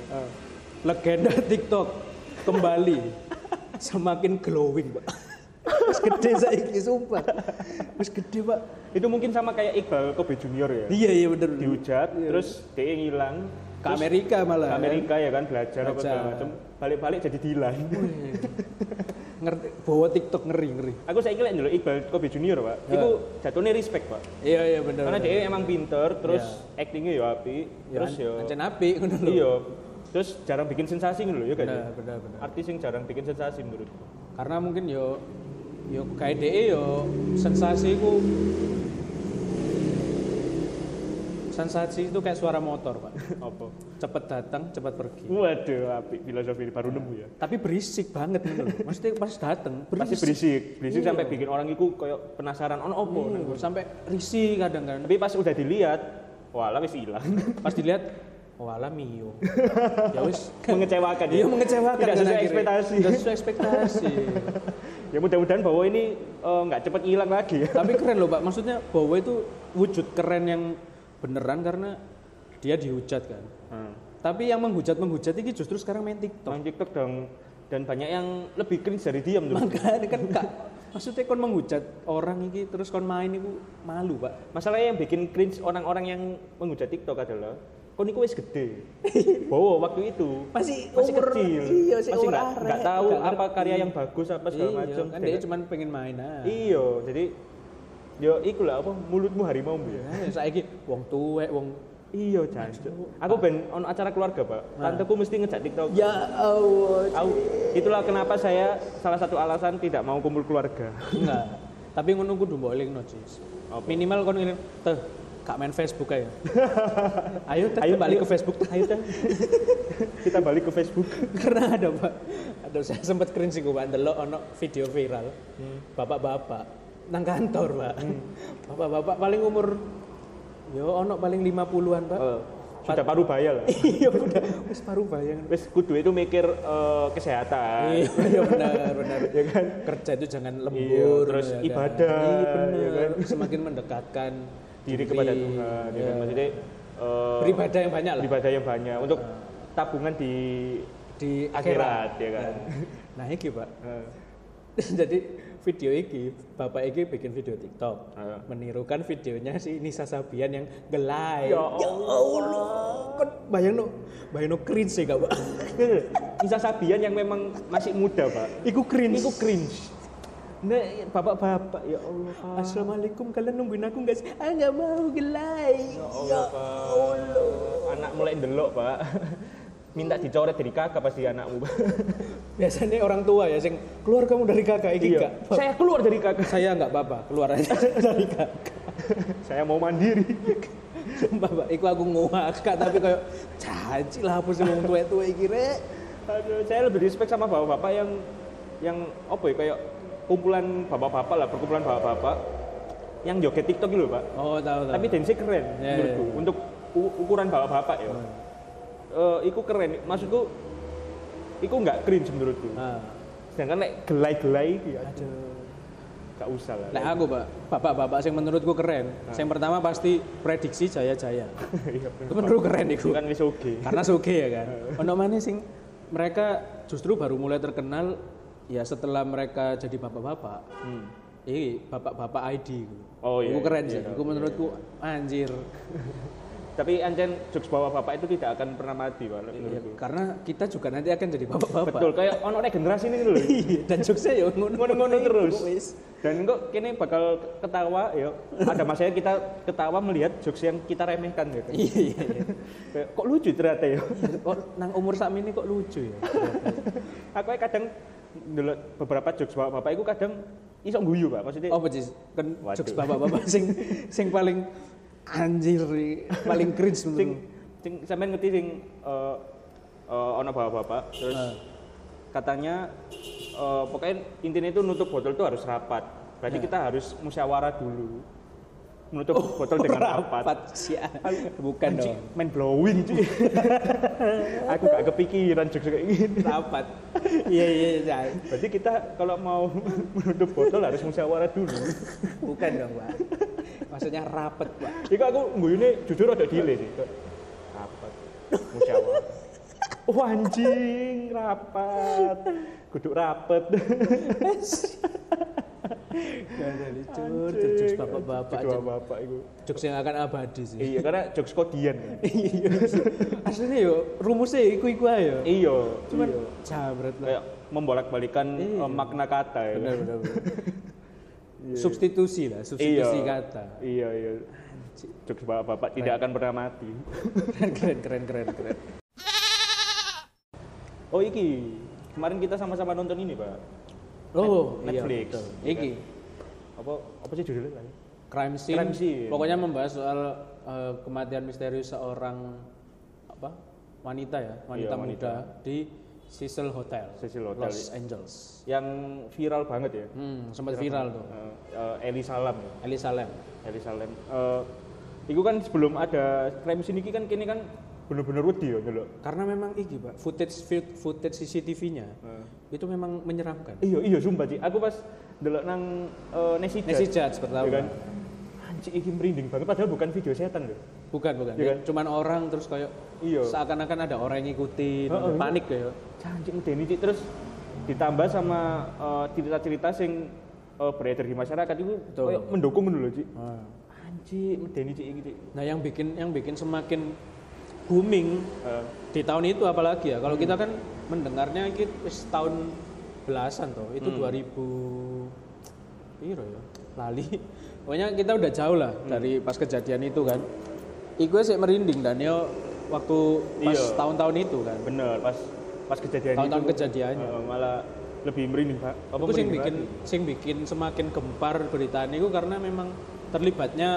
A: Legenda TikTok kembali semakin glowing pak. Mas gede saiki sumpah. Mas gede pak.
B: itu mungkin sama kayak Iqbal Kobe Junior ya.
A: Iya iya bener.
B: dihujat, terus dia ngilang
A: Ke Amerika
B: ke
A: malah. kan.
B: Amerika ya kan belajar apa segala
A: Belajar. Iya.
B: macam balik-balik jadi Dilan
A: Ngerti, bawa TikTok ngeri ngeri.
B: aku saya kira dulu Iqbal Kobe Junior pak
A: Ya.
B: itu jatuhnya respect pak
A: Iya iya bener.
B: karena
A: bener.
B: dia emang pinter terus actingnya ya api terus ya
A: ancen apik ngono lho.
B: iya terus jarang bikin sensasi gitu loh ya kan ya?
A: Bener, bener, bener.
B: artis yang jarang bikin sensasi menurutku
A: Karena mungkin yo yo kayak DE yo sensasi ku sensasi itu kayak suara motor pak
B: apa
A: cepet datang cepet pergi
B: waduh api filosofi ini baru nemu ya
A: tapi berisik banget gitu loh maksudnya pas datang
B: pasti
A: berisik,
B: berisik berisik
A: Iya.
B: sampai bikin orang itu kayak penasaran ono apa nang
A: Iya, sampai risih kadang kan
B: tapi pas udah dilihat walah wis hilang
A: pas dilihat wala mio ya wis
B: Iya, mengecewakan ya.
A: dia mengecewakan
B: tidak
A: kan
B: sesuai
A: akhirnya.
B: ekspektasi
A: tidak sesuai ekspektasi
B: ya mudah-mudahan bahwa ini eh, nggak cepat hilang lagi ya
A: tapi keren loh pak maksudnya bahwa itu wujud keren yang beneran karena dia dihujat kan
B: Hmm.
A: Tapi yang menghujat menghujat ini justru sekarang main TikTok.
B: main TikTok dong dan banyak yang lebih cringe dari diam tuh
A: Makanya kan kak, maksudnya kon menghujat orang ini terus kon main itu malu pak.
B: masalahnya yang bikin cringe orang-orang yang menghujat TikTok adalah kok niku wis gede bawa waktu itu
C: Masih
B: masih
C: umur-
B: kecil
C: iya, sih
B: masih
C: umur
B: nggak
C: arek,
B: nggak tahu
A: nggak
B: apa
A: ngerti.
B: karya yang bagus apa segala
A: Iya,
B: macam
A: kan dia cuma pengen main ah. aja.
B: iya jadi yo iku lah apa mulutmu harimau ya
A: Nah, saiki wong tuwek, wong
B: iya jancuk aku ben on acara keluarga pak
A: Nah.
B: tanteku mesti ngejak tiktok
A: Iya.
C: Ya Allah.
B: Aku, itulah kenapa saya salah satu alasan tidak mau kumpul keluarga
A: enggak. Tapi ngono kudu mbok elingno, Jis.
B: Apa?
A: Minimal kon ngirim, "Teh, gak main Facebook ae." ayo, teh,
B: Ayo,
A: balik ke
B: ayo.
A: Facebook. Teh.
B: ayo Tan. kita balik ke Facebook
A: Karena ada, Pak. Ada saya sempat cringe sih Pak ndelok ono video viral. Bapak-bapak nang kantor, Pak. Bapak-bapak paling umur yo ono paling 50-an, Pak.
B: Eh, sudah paruh baya lah
A: Iya, udah wis baru bayang.
B: wis kudu itu mikir eh, kesehatan
A: Iya, iya benar, benar.
B: ya kan
A: Kerja itu jangan
B: Iya,
A: lembur,
B: terus
A: ya kan?
B: ibadah,
A: Iya,
B: ya
A: benar.
B: kan?
A: Semakin mendekatkan Iya.
B: diri kepada Tuhan ya kan maksudnya eh,
A: beribadah yang banyak lah
B: beribadah yang banyak untuk tabungan di
A: di akhirat.
B: akhirat ya kan
A: Nah, iki Pak.
B: Eh,
A: Jadi video iki, bapak iki bikin video TikTok.
B: Heeh.
A: Menirukan videonya si Nisa Sabian yang gelai.
B: Ya
A: Allah. Kan bayangno, bayangno cringe sih Kak, Pak.
B: Nisa Sabian yang memang masih muda pak
A: Iku cringe.
B: itu cringe nah bapak-bapak ya Allah Pak.
A: Assalamualaikum, kalian nungguin aku nggak sih? Ah, nggak mau gelai.
B: Ya Allah, Pak. Anak mulai ndelok, Pak. Minta dicoret dari kakak pasti anakmu. Pak.
A: Ya. Biasanya orang tua ya, sing keluar kamu dari kakak iki
B: Iya.
A: Kak.
B: Saya keluar dari kakak.
A: Saya nggak apa-apa, keluar aja dari kakak.
B: Saya mau mandiri.
A: Sumpah, Pak, iku aku nguak Kak, tapi kayak caci lah apa sih wong tuwek-tuwek iki rek.
B: Aduh, saya lebih respect sama bapak-bapak yang yang apa ya kayak kumpulan bapak-bapak lah, perkumpulan bapak-bapak yang joget TikTok gitu, Pak.
A: Oh, tahu tahu.
B: Tapi dance keren
A: Iya,
B: menurutku
A: iya. Hmm.
B: untuk u- ukuran bapak-bapak ya. Eh, iku keren. Maksudku iku nggak cringe menurutku.
A: Ah,
B: Sedangkan nek gelai-gelai iki aduh, nggak usah lah.
A: Nah, aku, Pak, bapak-bapak sing menurutku keren. Yang pertama pasti prediksi jaya-jaya.
B: Iya,
A: Itu menurut keren iku.
B: kan wis oke.
A: Karena suge ya kan. Ono maneh sing mereka justru baru mulai terkenal ya setelah mereka jadi bapak-bapak. Ini bapak-bapak ID gitu.
B: Hmm. Oh, iya,
A: Iku keren
B: iya,
A: sih.
B: iya,
A: Iku menurutku anjir.
B: Tapi ancen jokes bawa bapak itu tidak akan pernah mati, Pak.
A: Ya,
B: menurutku.
A: karena kita juga nanti akan jadi bapak-bapak.
B: Iya, Betul, kayak ono regenerasi ini dulu.
A: Iya, Dan jokesnya ya
B: Ngono-ngono terus.
A: Wis.
B: Dan kok kini bakal ketawa, ya. Ada masanya kita ketawa melihat jokes yang kita remehkan gitu.
A: Iya iya. iya.
B: Kayak, kok lucu ternyata ya.
A: Kok nang umur sak ini kok lucu ya.
B: Aku ae kadang dulu beberapa jokes bawa bapak itu kadang iso guyu, Pak. Maksudnya
A: Oh betis kan
B: Iya. Waduh.
A: jokes bapak-bapak sing sing paling anjir paling cringe menurut.
B: sing sing sampean ngerti sing eh eh, ono bapak-bapak terus
A: Ah.
B: katanya eh, pokoknya intinya itu nutup botol itu harus rapat. Berarti kita harus musyawarah dulu. Menutup botol dengan rapat.
A: Oh, rapat kan, sih. Bukan
B: Anjing,
A: dong.
B: main blowing cuy. Aku gak kepikiran jokes kayak gini.
A: Rapat. Iya iya iya.
B: Berarti kita kalau mau menutup botol harus musyawarah dulu.
A: Bukan dong, Pak. Maksudnya rapet, Pak.
B: Iku aku guyune jujur ada delay sih. Kayak, Rapat. Musyawarah. Wah anjing, rapat. Kudu rapat.
A: Jangan dicur, jokes bapak-bapak.
B: Jokes bapak-bapak itu.
A: Jokes yang akan abadi sih.
B: Iya, karena jokes kodian. kan.
A: Iya. Aslinya yo rumusnya iku-iku aja. yo.
B: Iya.
A: Cuman Iya. jabret lah.
B: kayak membolak-balikan eh, makna kata ya.
A: Benar benar. benar. Substitusi lah, substitusi kata.
B: Iya, iya. Jokes bapak-bapak tidak akan pernah mati.
A: Keren keren keren keren.
B: Oh, iki. Kemarin kita sama-sama nonton ini, Pak.
A: Oh, iya,
B: Netflix.
A: betul. Iki
B: Apa apa sih judulnya lagi?
A: crime scene,
B: Crime scene.
A: Pokoknya membahas soal eh, kematian misterius seorang apa? wanita ya, wanita,
B: Iya, wanita.
A: muda di Cecil Hotel,
B: Cecil Hotel.
A: Los Angeles.
B: Yang viral banget ya.
A: Hmm, sempat viral tuh.
B: Eh, eh, Eli Salam ya.
A: Eli Salem.
B: Eli Salam. Eh, iku kan sebelum ada crime scene iki kan kini kan bener-bener wedi ya dulu.
A: Karena memang iki, Pak, footage fut- footage CCTV-nya itu memang menyeramkan.
B: Iya, iya sumpah sih. Aku pas delok nang eh, Nessie
A: Nancy
B: Judge,
A: Judge pertama.
B: ya kan. Anjing iki merinding banget padahal bukan video setan loh.
A: Bukan, bukan.
B: Iya
A: Ya,
B: kan?
A: Cuman orang terus kayak
B: Iya.
A: seakan-akan ada orang yang ngikutin,
B: Heeh,
A: panik kayak.
B: Anjing medeni Cik. terus ditambah sama eh, cerita-cerita sing eh, beredar di masyarakat itu
A: Betul.
B: kayak mendukung dulu, Cik. Anjing medeni Cik iki, Cik.
A: Nah, yang bikin yang bikin semakin booming
B: Eh,
A: di tahun itu apalagi ya kalau kita kan mendengarnya iki wis tahun belasan toh
B: Hmm.
A: itu 2000 piro ya lali pokoknya kita udah jauh lah
B: Hmm.
A: dari pas kejadian itu kan iku sih merinding Daniel waktu pas
B: Iya.
A: tahun-tahun itu kan
B: bener pas pas kejadian
A: tahun-tahun
B: itu
A: kejadiannya
B: eh, malah lebih merinding pak
A: itu
B: apa
A: sing
B: merinding
A: bikin
B: banget.
A: sing bikin semakin gempar beritanya itu karena memang terlibatnya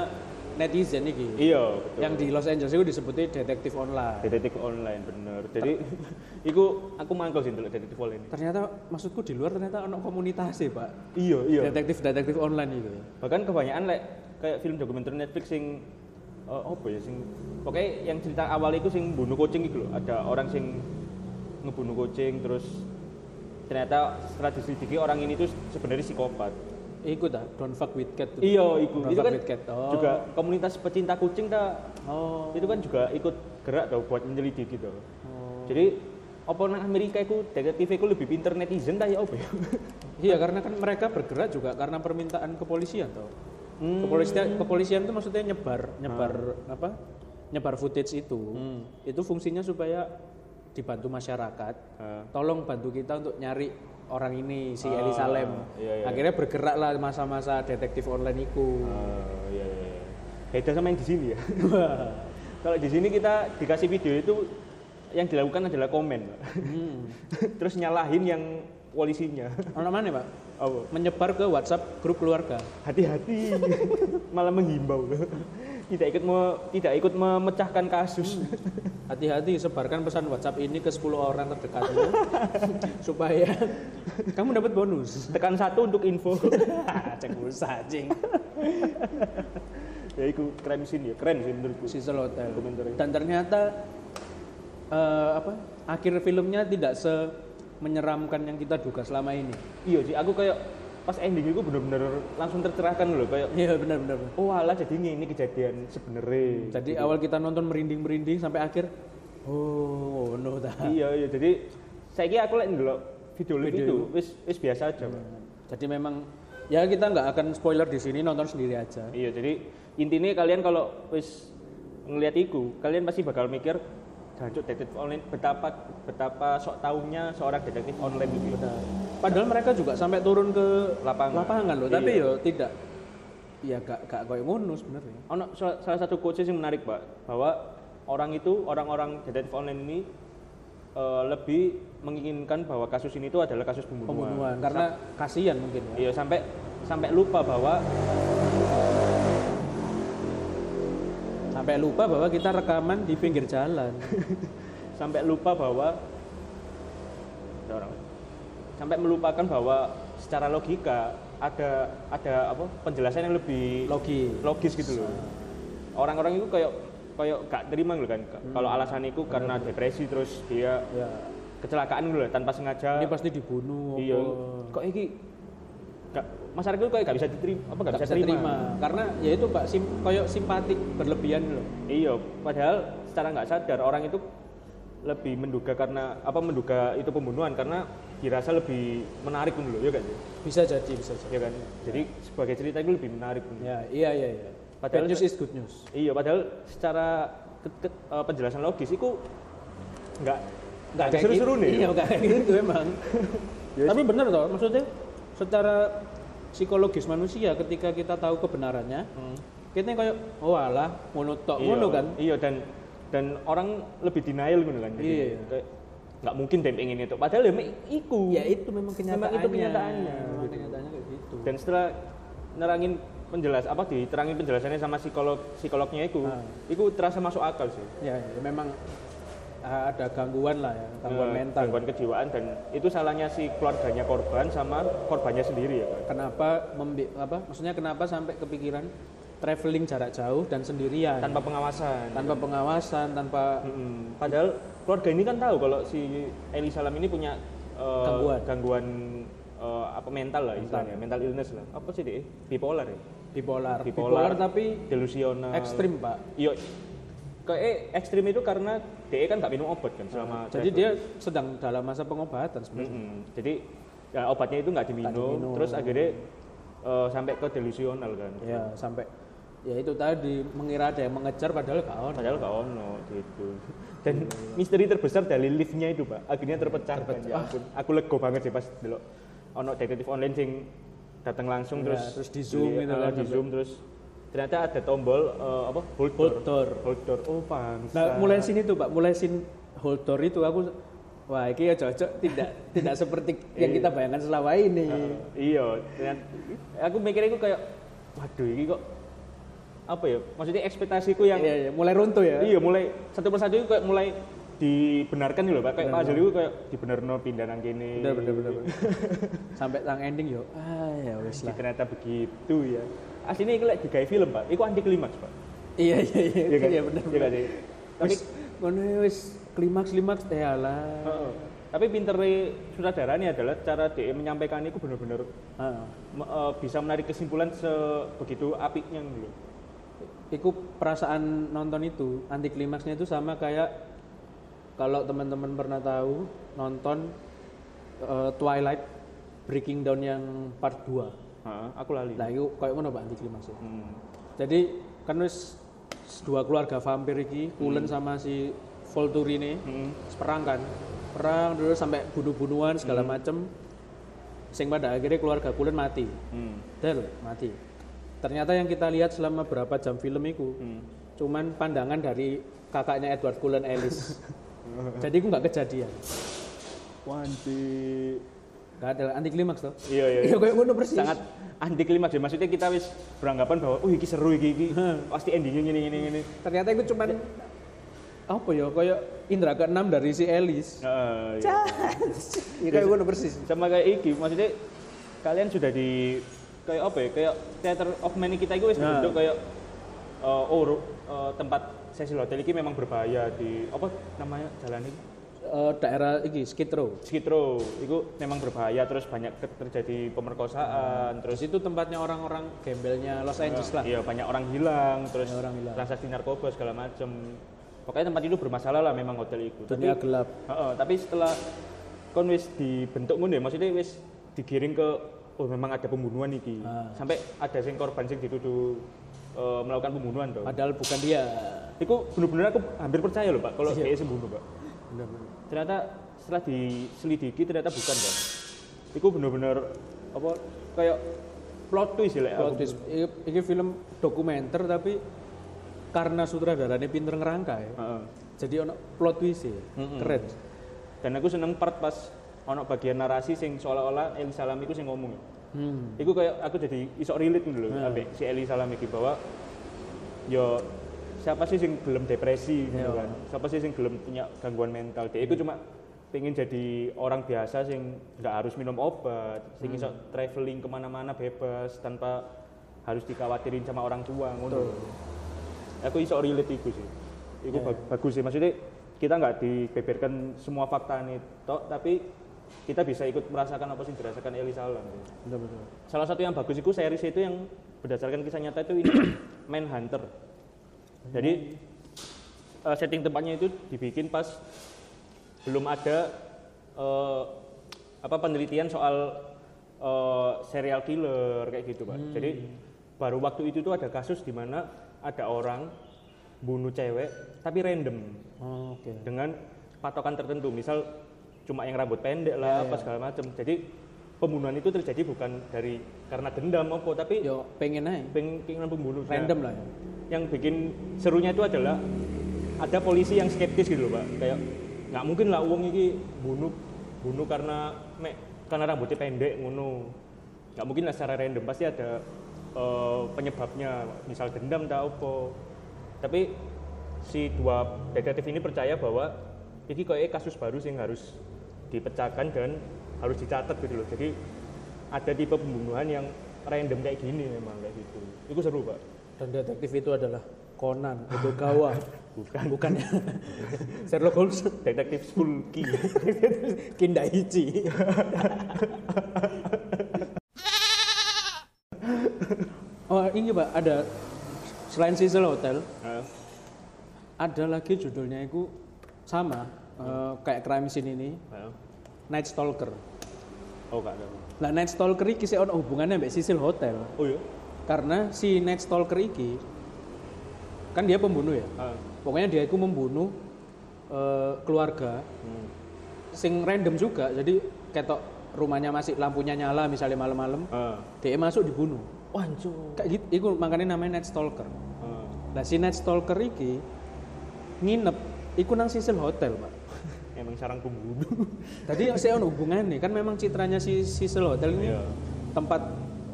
A: netizen iki
B: iya betul
A: yang di Los Angeles itu disebutnya detektif online
B: detektif online bener jadi iku aku mangkel sih dulu detektif online
A: ternyata maksudku di luar ternyata ono komunitas sih pak
B: iya iya
A: detektif detektif online gitu. itu
B: bahkan kebanyakan like, kayak film dokumenter Netflix sing eh, apa ya sing pokoknya yang cerita awal itu sing bunuh kucing gitu loh ada orang sing ngebunuh kucing terus ternyata setelah diselidiki orang ini tuh sebenarnya psikopat
A: ikut ah don't fuck with cat tuh.
B: iya iku
A: Don't
B: itu
A: fuck
B: kan
A: with cat oh.
B: juga komunitas pecinta kucing ta
A: oh
B: itu kan juga ikut gerak tau buat menyelidiki gitu
A: Oh.
B: jadi apa nang Amerika itu detektif itu lebih pinter netizen ta ya apa ya
A: iya karena kan mereka bergerak juga karena permintaan kepolisian toh Hmm. kepolisian kepolisian itu maksudnya nyebar nyebar apa nyebar footage itu itu fungsinya supaya dibantu masyarakat
B: Ah,
A: tolong bantu kita untuk nyari orang ini si
B: Ah,
A: Eli Salem.
B: iya, iya.
A: Akhirnya bergeraklah masa-masa detektif online itu.
B: ah, iya, iya, iya. beda sama yang di sini ya kalau di sini kita dikasih video itu yang dilakukan adalah komen Pak.
A: Hmm.
B: terus nyalahin yang polisinya
A: Orang mana pak?
B: apa
A: Menyebar ke WhatsApp grup keluarga.
B: hati-hati malah menghimbau tidak ikut me- tidak ikut memecahkan kasus
A: Hmm. Hati-hati sebarkan pesan WhatsApp ini ke 10 orang terdekatmu supaya kamu dapat bonus.
B: tekan satu untuk info
A: Cek pulsa anjing.
B: ya itu keren sih ya keren sih menurutku
A: Cecil Hotel.
B: Dokumenternya.
A: Dan ternyata eh, apa? Akhir filmnya tidak se menyeramkan yang kita duga selama ini.
B: iya sih aku kayak pas ending itu bener-bener langsung tercerahkan loh kayak
A: Iya benar-benar. benar.
B: oh alah jadi ini kejadian sebenarnya
A: Jadi awal kita nonton merinding-merinding sampai akhir oh no dah.
B: iya iya jadi saya kira aku lihat dulu video live
A: Video Hmm.
B: itu wis wis biasa aja Pak.
A: Jadi memang ya kita nggak akan spoiler di sini nonton sendiri aja.
B: iya jadi intinya kalian kalau wis ngelihat iku kalian pasti bakal mikir jancuk detektif online betapa betapa sok taunya seorang detektif online gitu
A: Nah, Padahal mereka juga sampai turun ke
B: Lapangan.
A: lapangan loh, tapi
B: Iya.
A: yo tidak ya gak gak koyo ngono sebenarnya.
B: ono sa- salah satu quotes yang menarik pak bahwa orang itu orang-orang detektif online ini eh, lebih menginginkan bahwa kasus ini itu adalah kasus pembunuhan,
A: Pembunuhan karena kasihan mungkin ya.
B: iya sampai sampai lupa bahwa
A: Sampai lupa bahwa kita rekaman di pinggir jalan.
B: sampai lupa bahwa ada orang sampai melupakan bahwa secara logika ada ada apa penjelasan yang lebih
A: Logi.
B: logis gitu loh orang-orang itu kayak kayak gak terima gitu kan kalau alasan itu karena depresi terus dia
A: Ya.
B: kecelakaan gitu loh tanpa sengaja
A: Ini pasti dibunuh.
B: iya
A: apa.
B: kok iki gak, masyarakat itu kayak gak bisa diterima apa gak,
A: Nggak
B: bisa, terima.
A: karena ya itu Pak sim, koyok simpatik berlebihan loh.
B: iya padahal secara nggak sadar orang itu lebih menduga karena apa menduga itu pembunuhan karena dirasa lebih menarik dulu ya kan ya?
A: Bisa jadi, bisa jadi.
B: ya kan jadi sebagai cerita itu lebih menarik dulu.
A: Ya, iya iya iya.
B: Padahal-
A: Bad news is good news.
B: iya padahal secara ke- ke- eh, penjelasan logis itu nggak nggak ada
A: Kayak
B: seru-seru
A: gitu-
B: nih
A: Iya, nggak kayak gitu emang.
B: Ya,
A: Tapi benar toh, maksudnya secara psikologis manusia ketika kita tahu kebenarannya, kita kayak oh alah, ngono tok ngono kan.
B: iya dan dan orang lebih denial gitu kan Jadi
A: Iya.
B: kayak, nggak mungkin dem ingin itu padahal ya mek iku
A: Ya itu memang kenyataannya.
B: Memang itu kenyataannya.
A: Memang kenyataannya kayak gitu.
B: dan setelah nerangin penjelas apa diterangin penjelasannya sama psikolog psikolognya itu
A: Ah.
B: itu terasa masuk akal sih
A: Ya, ya, memang ah, ada gangguan lah ya, gangguan
B: Eh,
A: mental.
B: gangguan kejiwaan dan itu salahnya si keluarganya korban sama korbannya sendiri ya kan
A: Kenapa membi- apa? Maksudnya kenapa sampai kepikiran traveling jarak jauh dan sendirian?
B: tanpa pengawasan
A: Ah. tanpa pengawasan tanpa
B: Mm-mm. padahal keluarga ini kan tahu kalau si Eli Salam ini punya eh,
A: Gangguan.
B: eh, apa mental lah istilahnya mental illness lah apa sih deh bipolar ya
A: bipolar. Ah.
B: Bipolar.
A: bipolar tapi
B: delusional
A: ekstrim pak
B: iya kayak ekstrim itu karena dia kan nggak minum obat kan selama
A: Ah. jadi dia sedang dalam masa pengobatan sebenarnya
B: Mm-mm. Jadi ya, obatnya itu nggak diminum,
A: diminum. Iya.
B: terus akhirnya eh, sampai ke delusional kan.
A: ya sampai ya itu tadi mengira ada yang mengejar padahal gak ono.
B: Padahal gak ono gitu.
A: Iya,
B: Dan misteri terbesar dari liftnya itu, Pak. Akhirnya terpecah. Kan, ya ampun. Aku lego banget sih pas delok ono detektif online sing datang langsung
A: Ya,
B: terus
A: terus di zoom
B: beli,
A: gitu
B: ah,
A: kan,
B: di
A: sampai-
B: zoom terus ternyata ada tombol eh, apa hold door.
A: Hold door.
B: Hold door. Oh, bangsa.
A: Nah, mulai sini tuh Pak, mulai sin hold door itu aku wah ini ya cocok tidak tidak seperti yang kita bayangkan selama ini. Kan?
B: iya, ternyata- aku mikirnya aku kayak waduh ini kok apa ya? Maksudnya ekspektasiku yang
A: Iya, iya, mulai runtuh ya.
B: Iya mulai satu persatu itu kayak mulai dibenarkan gitu loh Pak. kayak Pak Azul itu kayak dibenerno pindahan gini.
A: Bener bener bener. bener. Sampai sang ending yo. Ah ya wis
B: Jadi
A: lah.
B: ternyata begitu ya. Aslinya itu lek digawe film Pak. Itu anti klimaks Pak.
A: Iya iya iya.
B: Iya kan?
A: Iya bener.
B: Iya
A: bener.
B: kan, sih?
A: Tapi ngono ya wis klimaks klimaks teh alah.
B: Heeh. Tapi pinternya sutradara ini adalah cara dia menyampaikan itu benar-benar
A: Heeh.
B: me- eh, bisa menarik kesimpulan sebegitu apiknya gitu. loh.
A: Iku perasaan nonton itu anti klimaksnya itu sama kayak kalau teman-teman pernah tahu nonton eh, Twilight Breaking Down yang part 2.
B: Heeh, aku lali.
A: Lah iku koyo ngono Pak anti klimaksnya.
B: Hmm.
A: Jadi kan wis dua keluarga vampir iki, Cullen sama si Volturi ini
B: Hmm.
A: perang kan. Perang dulu sampai bunuh-bunuhan segala macem sing pada akhirnya keluarga Cullen mati.
B: Hmm.
A: Del mati. Ternyata yang kita lihat selama berapa jam film itu
B: Hmm.
A: cuman pandangan dari kakaknya Edward Cullen Ellis. Jadi aku nggak kejadian.
B: Wanti.
A: Nggak ada anti klimaks tuh.
B: Iya iya.
A: Ya
B: iya.
A: kayak ngono persis.
B: sangat anti klimaks ya. Maksudnya kita wis beranggapan bahwa oh iki seru iki iki
A: Hmm.
B: pasti endingnya gini gini gini.
A: Ternyata itu cuman apa ya kayak indra keenam dari si Ellis.
B: Heeh, iya.
A: Ya kayak ngono persis.
B: sama kayak iki maksudnya kalian sudah di kayak apa ya kayak theater of many kita itu wis
A: Nah.
B: dibentuk kayak eh, oh ru- eh, tempat sesi hotel ini memang berbahaya di apa namanya jalan ini
A: Eh, daerah iki Skid Row.
B: skid row itu memang berbahaya terus banyak ke- terjadi pemerkosaan terus
A: Terus itu tempatnya orang-orang gembelnya Los Angeles lah.
B: iya banyak orang hilang terus
A: Banyak orang hilang.
B: transaksi narkoba segala macem pokoknya tempat itu bermasalah lah memang hotel itu
A: Dunia gelap.
B: Heeh, tapi setelah kon wis dibentuk ngono ya, maksudnya wis digiring ke oh memang ada pembunuhan iki.
A: Ah.
B: Sampai ada sing korban sing dituduh eh, melakukan pembunuhan toh.
A: Padahal bukan dia.
B: Iku bener-bener aku hampir percaya loh, Pak, kalau
A: Iya.
B: dia sembunuh, Pak. Ternyata setelah diselidiki ternyata bukan, Pak. Iku bener-bener apa kayak plot twist ya, lek
A: Plot
B: aku.
A: twist. Ini, ini film dokumenter tapi karena sutradaranya pinter ngerangkai.
B: Heeh.
A: Jadi ono plot twist ya. Keren.
B: Dan aku seneng part pas ono bagian narasi sing seolah-olah Elisa Lam iku sing ngomong.
A: Hmm.
B: Iku kayak aku jadi isok relate dulu loh, ambek si Eli Salam iki bahwa yo siapa sih sing gelem depresi gitu kan. Siapa sih sing gelem punya gangguan mental. Dia itu cuma pengen jadi orang biasa sing nggak harus minum obat, sing iso traveling kemana-mana bebas tanpa harus dikhawatirin sama orang tua ngono. lho. Aku iso relate iku sih. Iku bag- bagus sih maksudnya kita nggak dibeberkan semua fakta ini tok, tapi kita bisa ikut merasakan apa sih yang dirasakan Eli Salam. Gitu.
A: Bener bener.
B: Salah satu yang bagus itu series itu yang berdasarkan kisah nyata itu ini Manhunter. Jadi eh, setting tempatnya itu dibikin pas belum ada eh, apa penelitian soal eh, serial killer kayak gitu, Pak. Jadi baru waktu itu tuh ada kasus di mana ada orang bunuh cewek tapi random
A: Oh, Oke.
B: dengan patokan tertentu misal cuma yang rambut pendek lah apa segala macam jadi pembunuhan itu terjadi bukan dari karena dendam apa tapi
A: Yo pengen aja.
B: pengen pembunuh Nah,
A: Iya. Random lah. ya.
B: yang bikin serunya itu adalah ada polisi yang skeptis gitu loh pak kayak nggak mungkin lah uang ini bunuh bunuh karena mek karena rambutnya pendek ngono nggak mungkin lah secara random pasti ada eh, penyebabnya misal dendam tak apa tapi si dua detektif ini percaya bahwa ini kayak kasus baru sih yang harus dipecahkan dan harus dicatat gitu loh jadi ada tipe pembunuhan yang random kayak gini memang kayak gitu itu seru pak
A: Dan detektif itu adalah Conan, Odogawa. Bukan. Bukan. Sherlock Holmes,
B: detektif Spulky
A: Kindaichi. oh, ini Pak, ada selain Cecil Hotel, ada lagi judulnya itu sama eh, kayak crime scene ini, Night Stalker.
B: oh gak ada
A: Nah, Night Stalker iki sih ono hubungannya mbak Cecil Hotel.
B: oh iya
A: Karena si Night Stalker iki kan dia pembunuh ya
B: Ah,
A: pokoknya dia itu membunuh eh, keluarga
B: hmm.
A: sing random juga jadi ketok rumahnya masih lampunya nyala misalnya malam-malam
B: Ah,
A: dia masuk dibunuh
B: Wancur.
A: kayak gitu itu makanya namanya net stalker
B: Ah.
A: nah si net stalker iki nginep iku nang sisil hotel pak
B: Emang sarang pembunuh.
A: tadi saya ono hubungannya kan memang citranya si sisil hotel ini
B: Iya.
A: tempat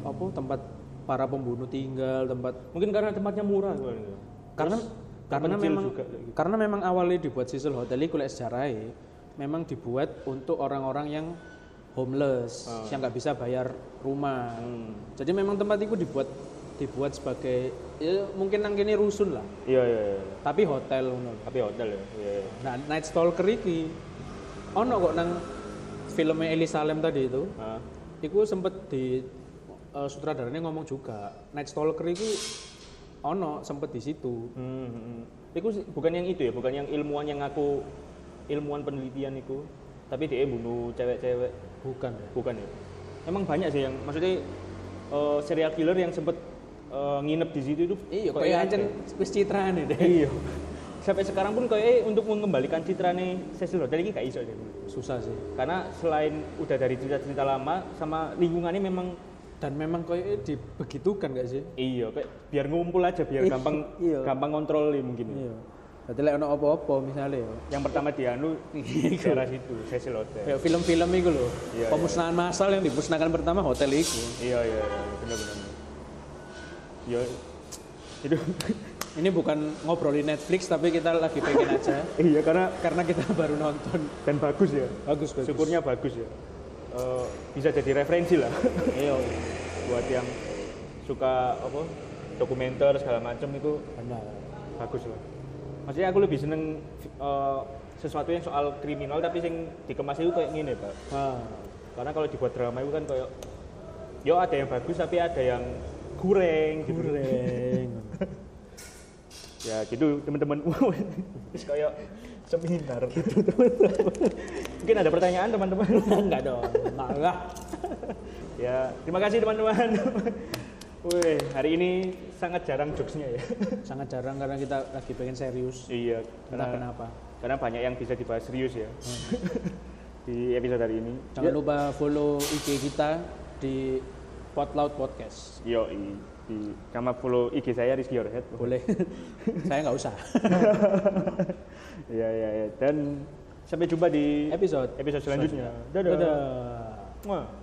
A: apa tempat para pembunuh tinggal tempat
B: Mungkin karena tempatnya murah gua nih.
A: karena karena
B: terpencil
A: memang
B: juga, kayak gitu.
A: karena memang awalnya dibuat Cecil Hotel itu lek sejarahnya, ya, memang dibuat untuk orang-orang yang homeless yang nggak bisa bayar rumah
B: Ah. Hmm.
A: jadi memang tempat itu dibuat dibuat sebagai ya, mungkin nang kene rusun lah
B: Iya iya iya.
A: tapi hotel ngono.
B: Tapi hotel ya. Iya. iya.
A: nah Night Stalker iki ono kok nang filmnya Eli Salem tadi itu
B: Ah.
A: Iku sempet di eh, sutradaranya ngomong juga Night Stalker itu ono sempet di situ
B: Hmm, hmm, hmm. Iku sih- bukan yang itu ya, bukan yang ilmuwan yang aku ilmuwan penelitian itu, tapi dia bunuh cewek-cewek,
A: bukan ya
B: bukan ya? Emang banyak sih yang maksudnya eh, serial killer yang sempet eh, nginep di situ itu.
A: Iya, kok
B: kayaknya
A: ancen
B: ada.
A: wis ya, citrane deh.
B: Iya. Sampai sekarang pun kayak untuk mengembalikan citrane Cecil Hotel ini gak iso deh.
A: Susah sih.
B: Karena selain udah dari cerita-cerita lama sama lingkungannya memang
A: Dan memang koyo dibegitukan gak sih?
B: iya kayak biar ngumpul aja biar
A: Iya.
B: gampang gampang kontrol mungkin.
A: Iya. Berarti lek ono apa-apa misalnya ya.
B: Yang pertama Dianu
A: Iya,
B: daerah situ Cecil Hotel.
A: Kayak film-film itu loh.
B: Iya,
A: Pemusnahan massal yang dimusnahkan pertama hotel itu.
B: Iya iya iya benar-benar. Iya itu
A: Ini bukan ngobrolin Netflix tapi kita lagi pengen aja
B: iya karena
A: karena kita baru nonton.
B: dan bagus ya.
A: Bagus bagus.
B: Syukurnya bagus ya. Eh, bisa jadi referensi lah
A: Iya.
B: buat yang suka apa dokumenter segala macam itu
A: Benar.
B: bagus lah. Maksudnya aku lebih seneng eh, sesuatu yang soal kriminal tapi sing dikemas itu kayak gini pak.
A: Ah.
B: Karena kalau dibuat drama itu kan kayak yo ada yang bagus tapi ada yang kurang gitu.
A: Goreng.
B: ya gitu teman-teman terus kayak seminar gitu teman-teman mungkin ada pertanyaan teman-teman
A: Enggak dong. Malah.
B: ya terima kasih teman-teman Wih, hari ini sangat jarang jokesnya ya
A: Sangat jarang karena kita lagi pengen serius.
B: iya
A: Entah
B: karena,
A: kenapa. Hmm.
B: karena banyak yang bisa dibahas serius ya di episode hari ini
A: Jangan lupa follow IG kita di Potlaut Podcast.
B: yo di sama follow IG saya Rizky Orhead
A: Boleh. Saya nggak usah.
B: ya ya ya dan sampai jumpa di
A: Episode.
B: episode selanjutnya
A: Dadah.
B: Mwah.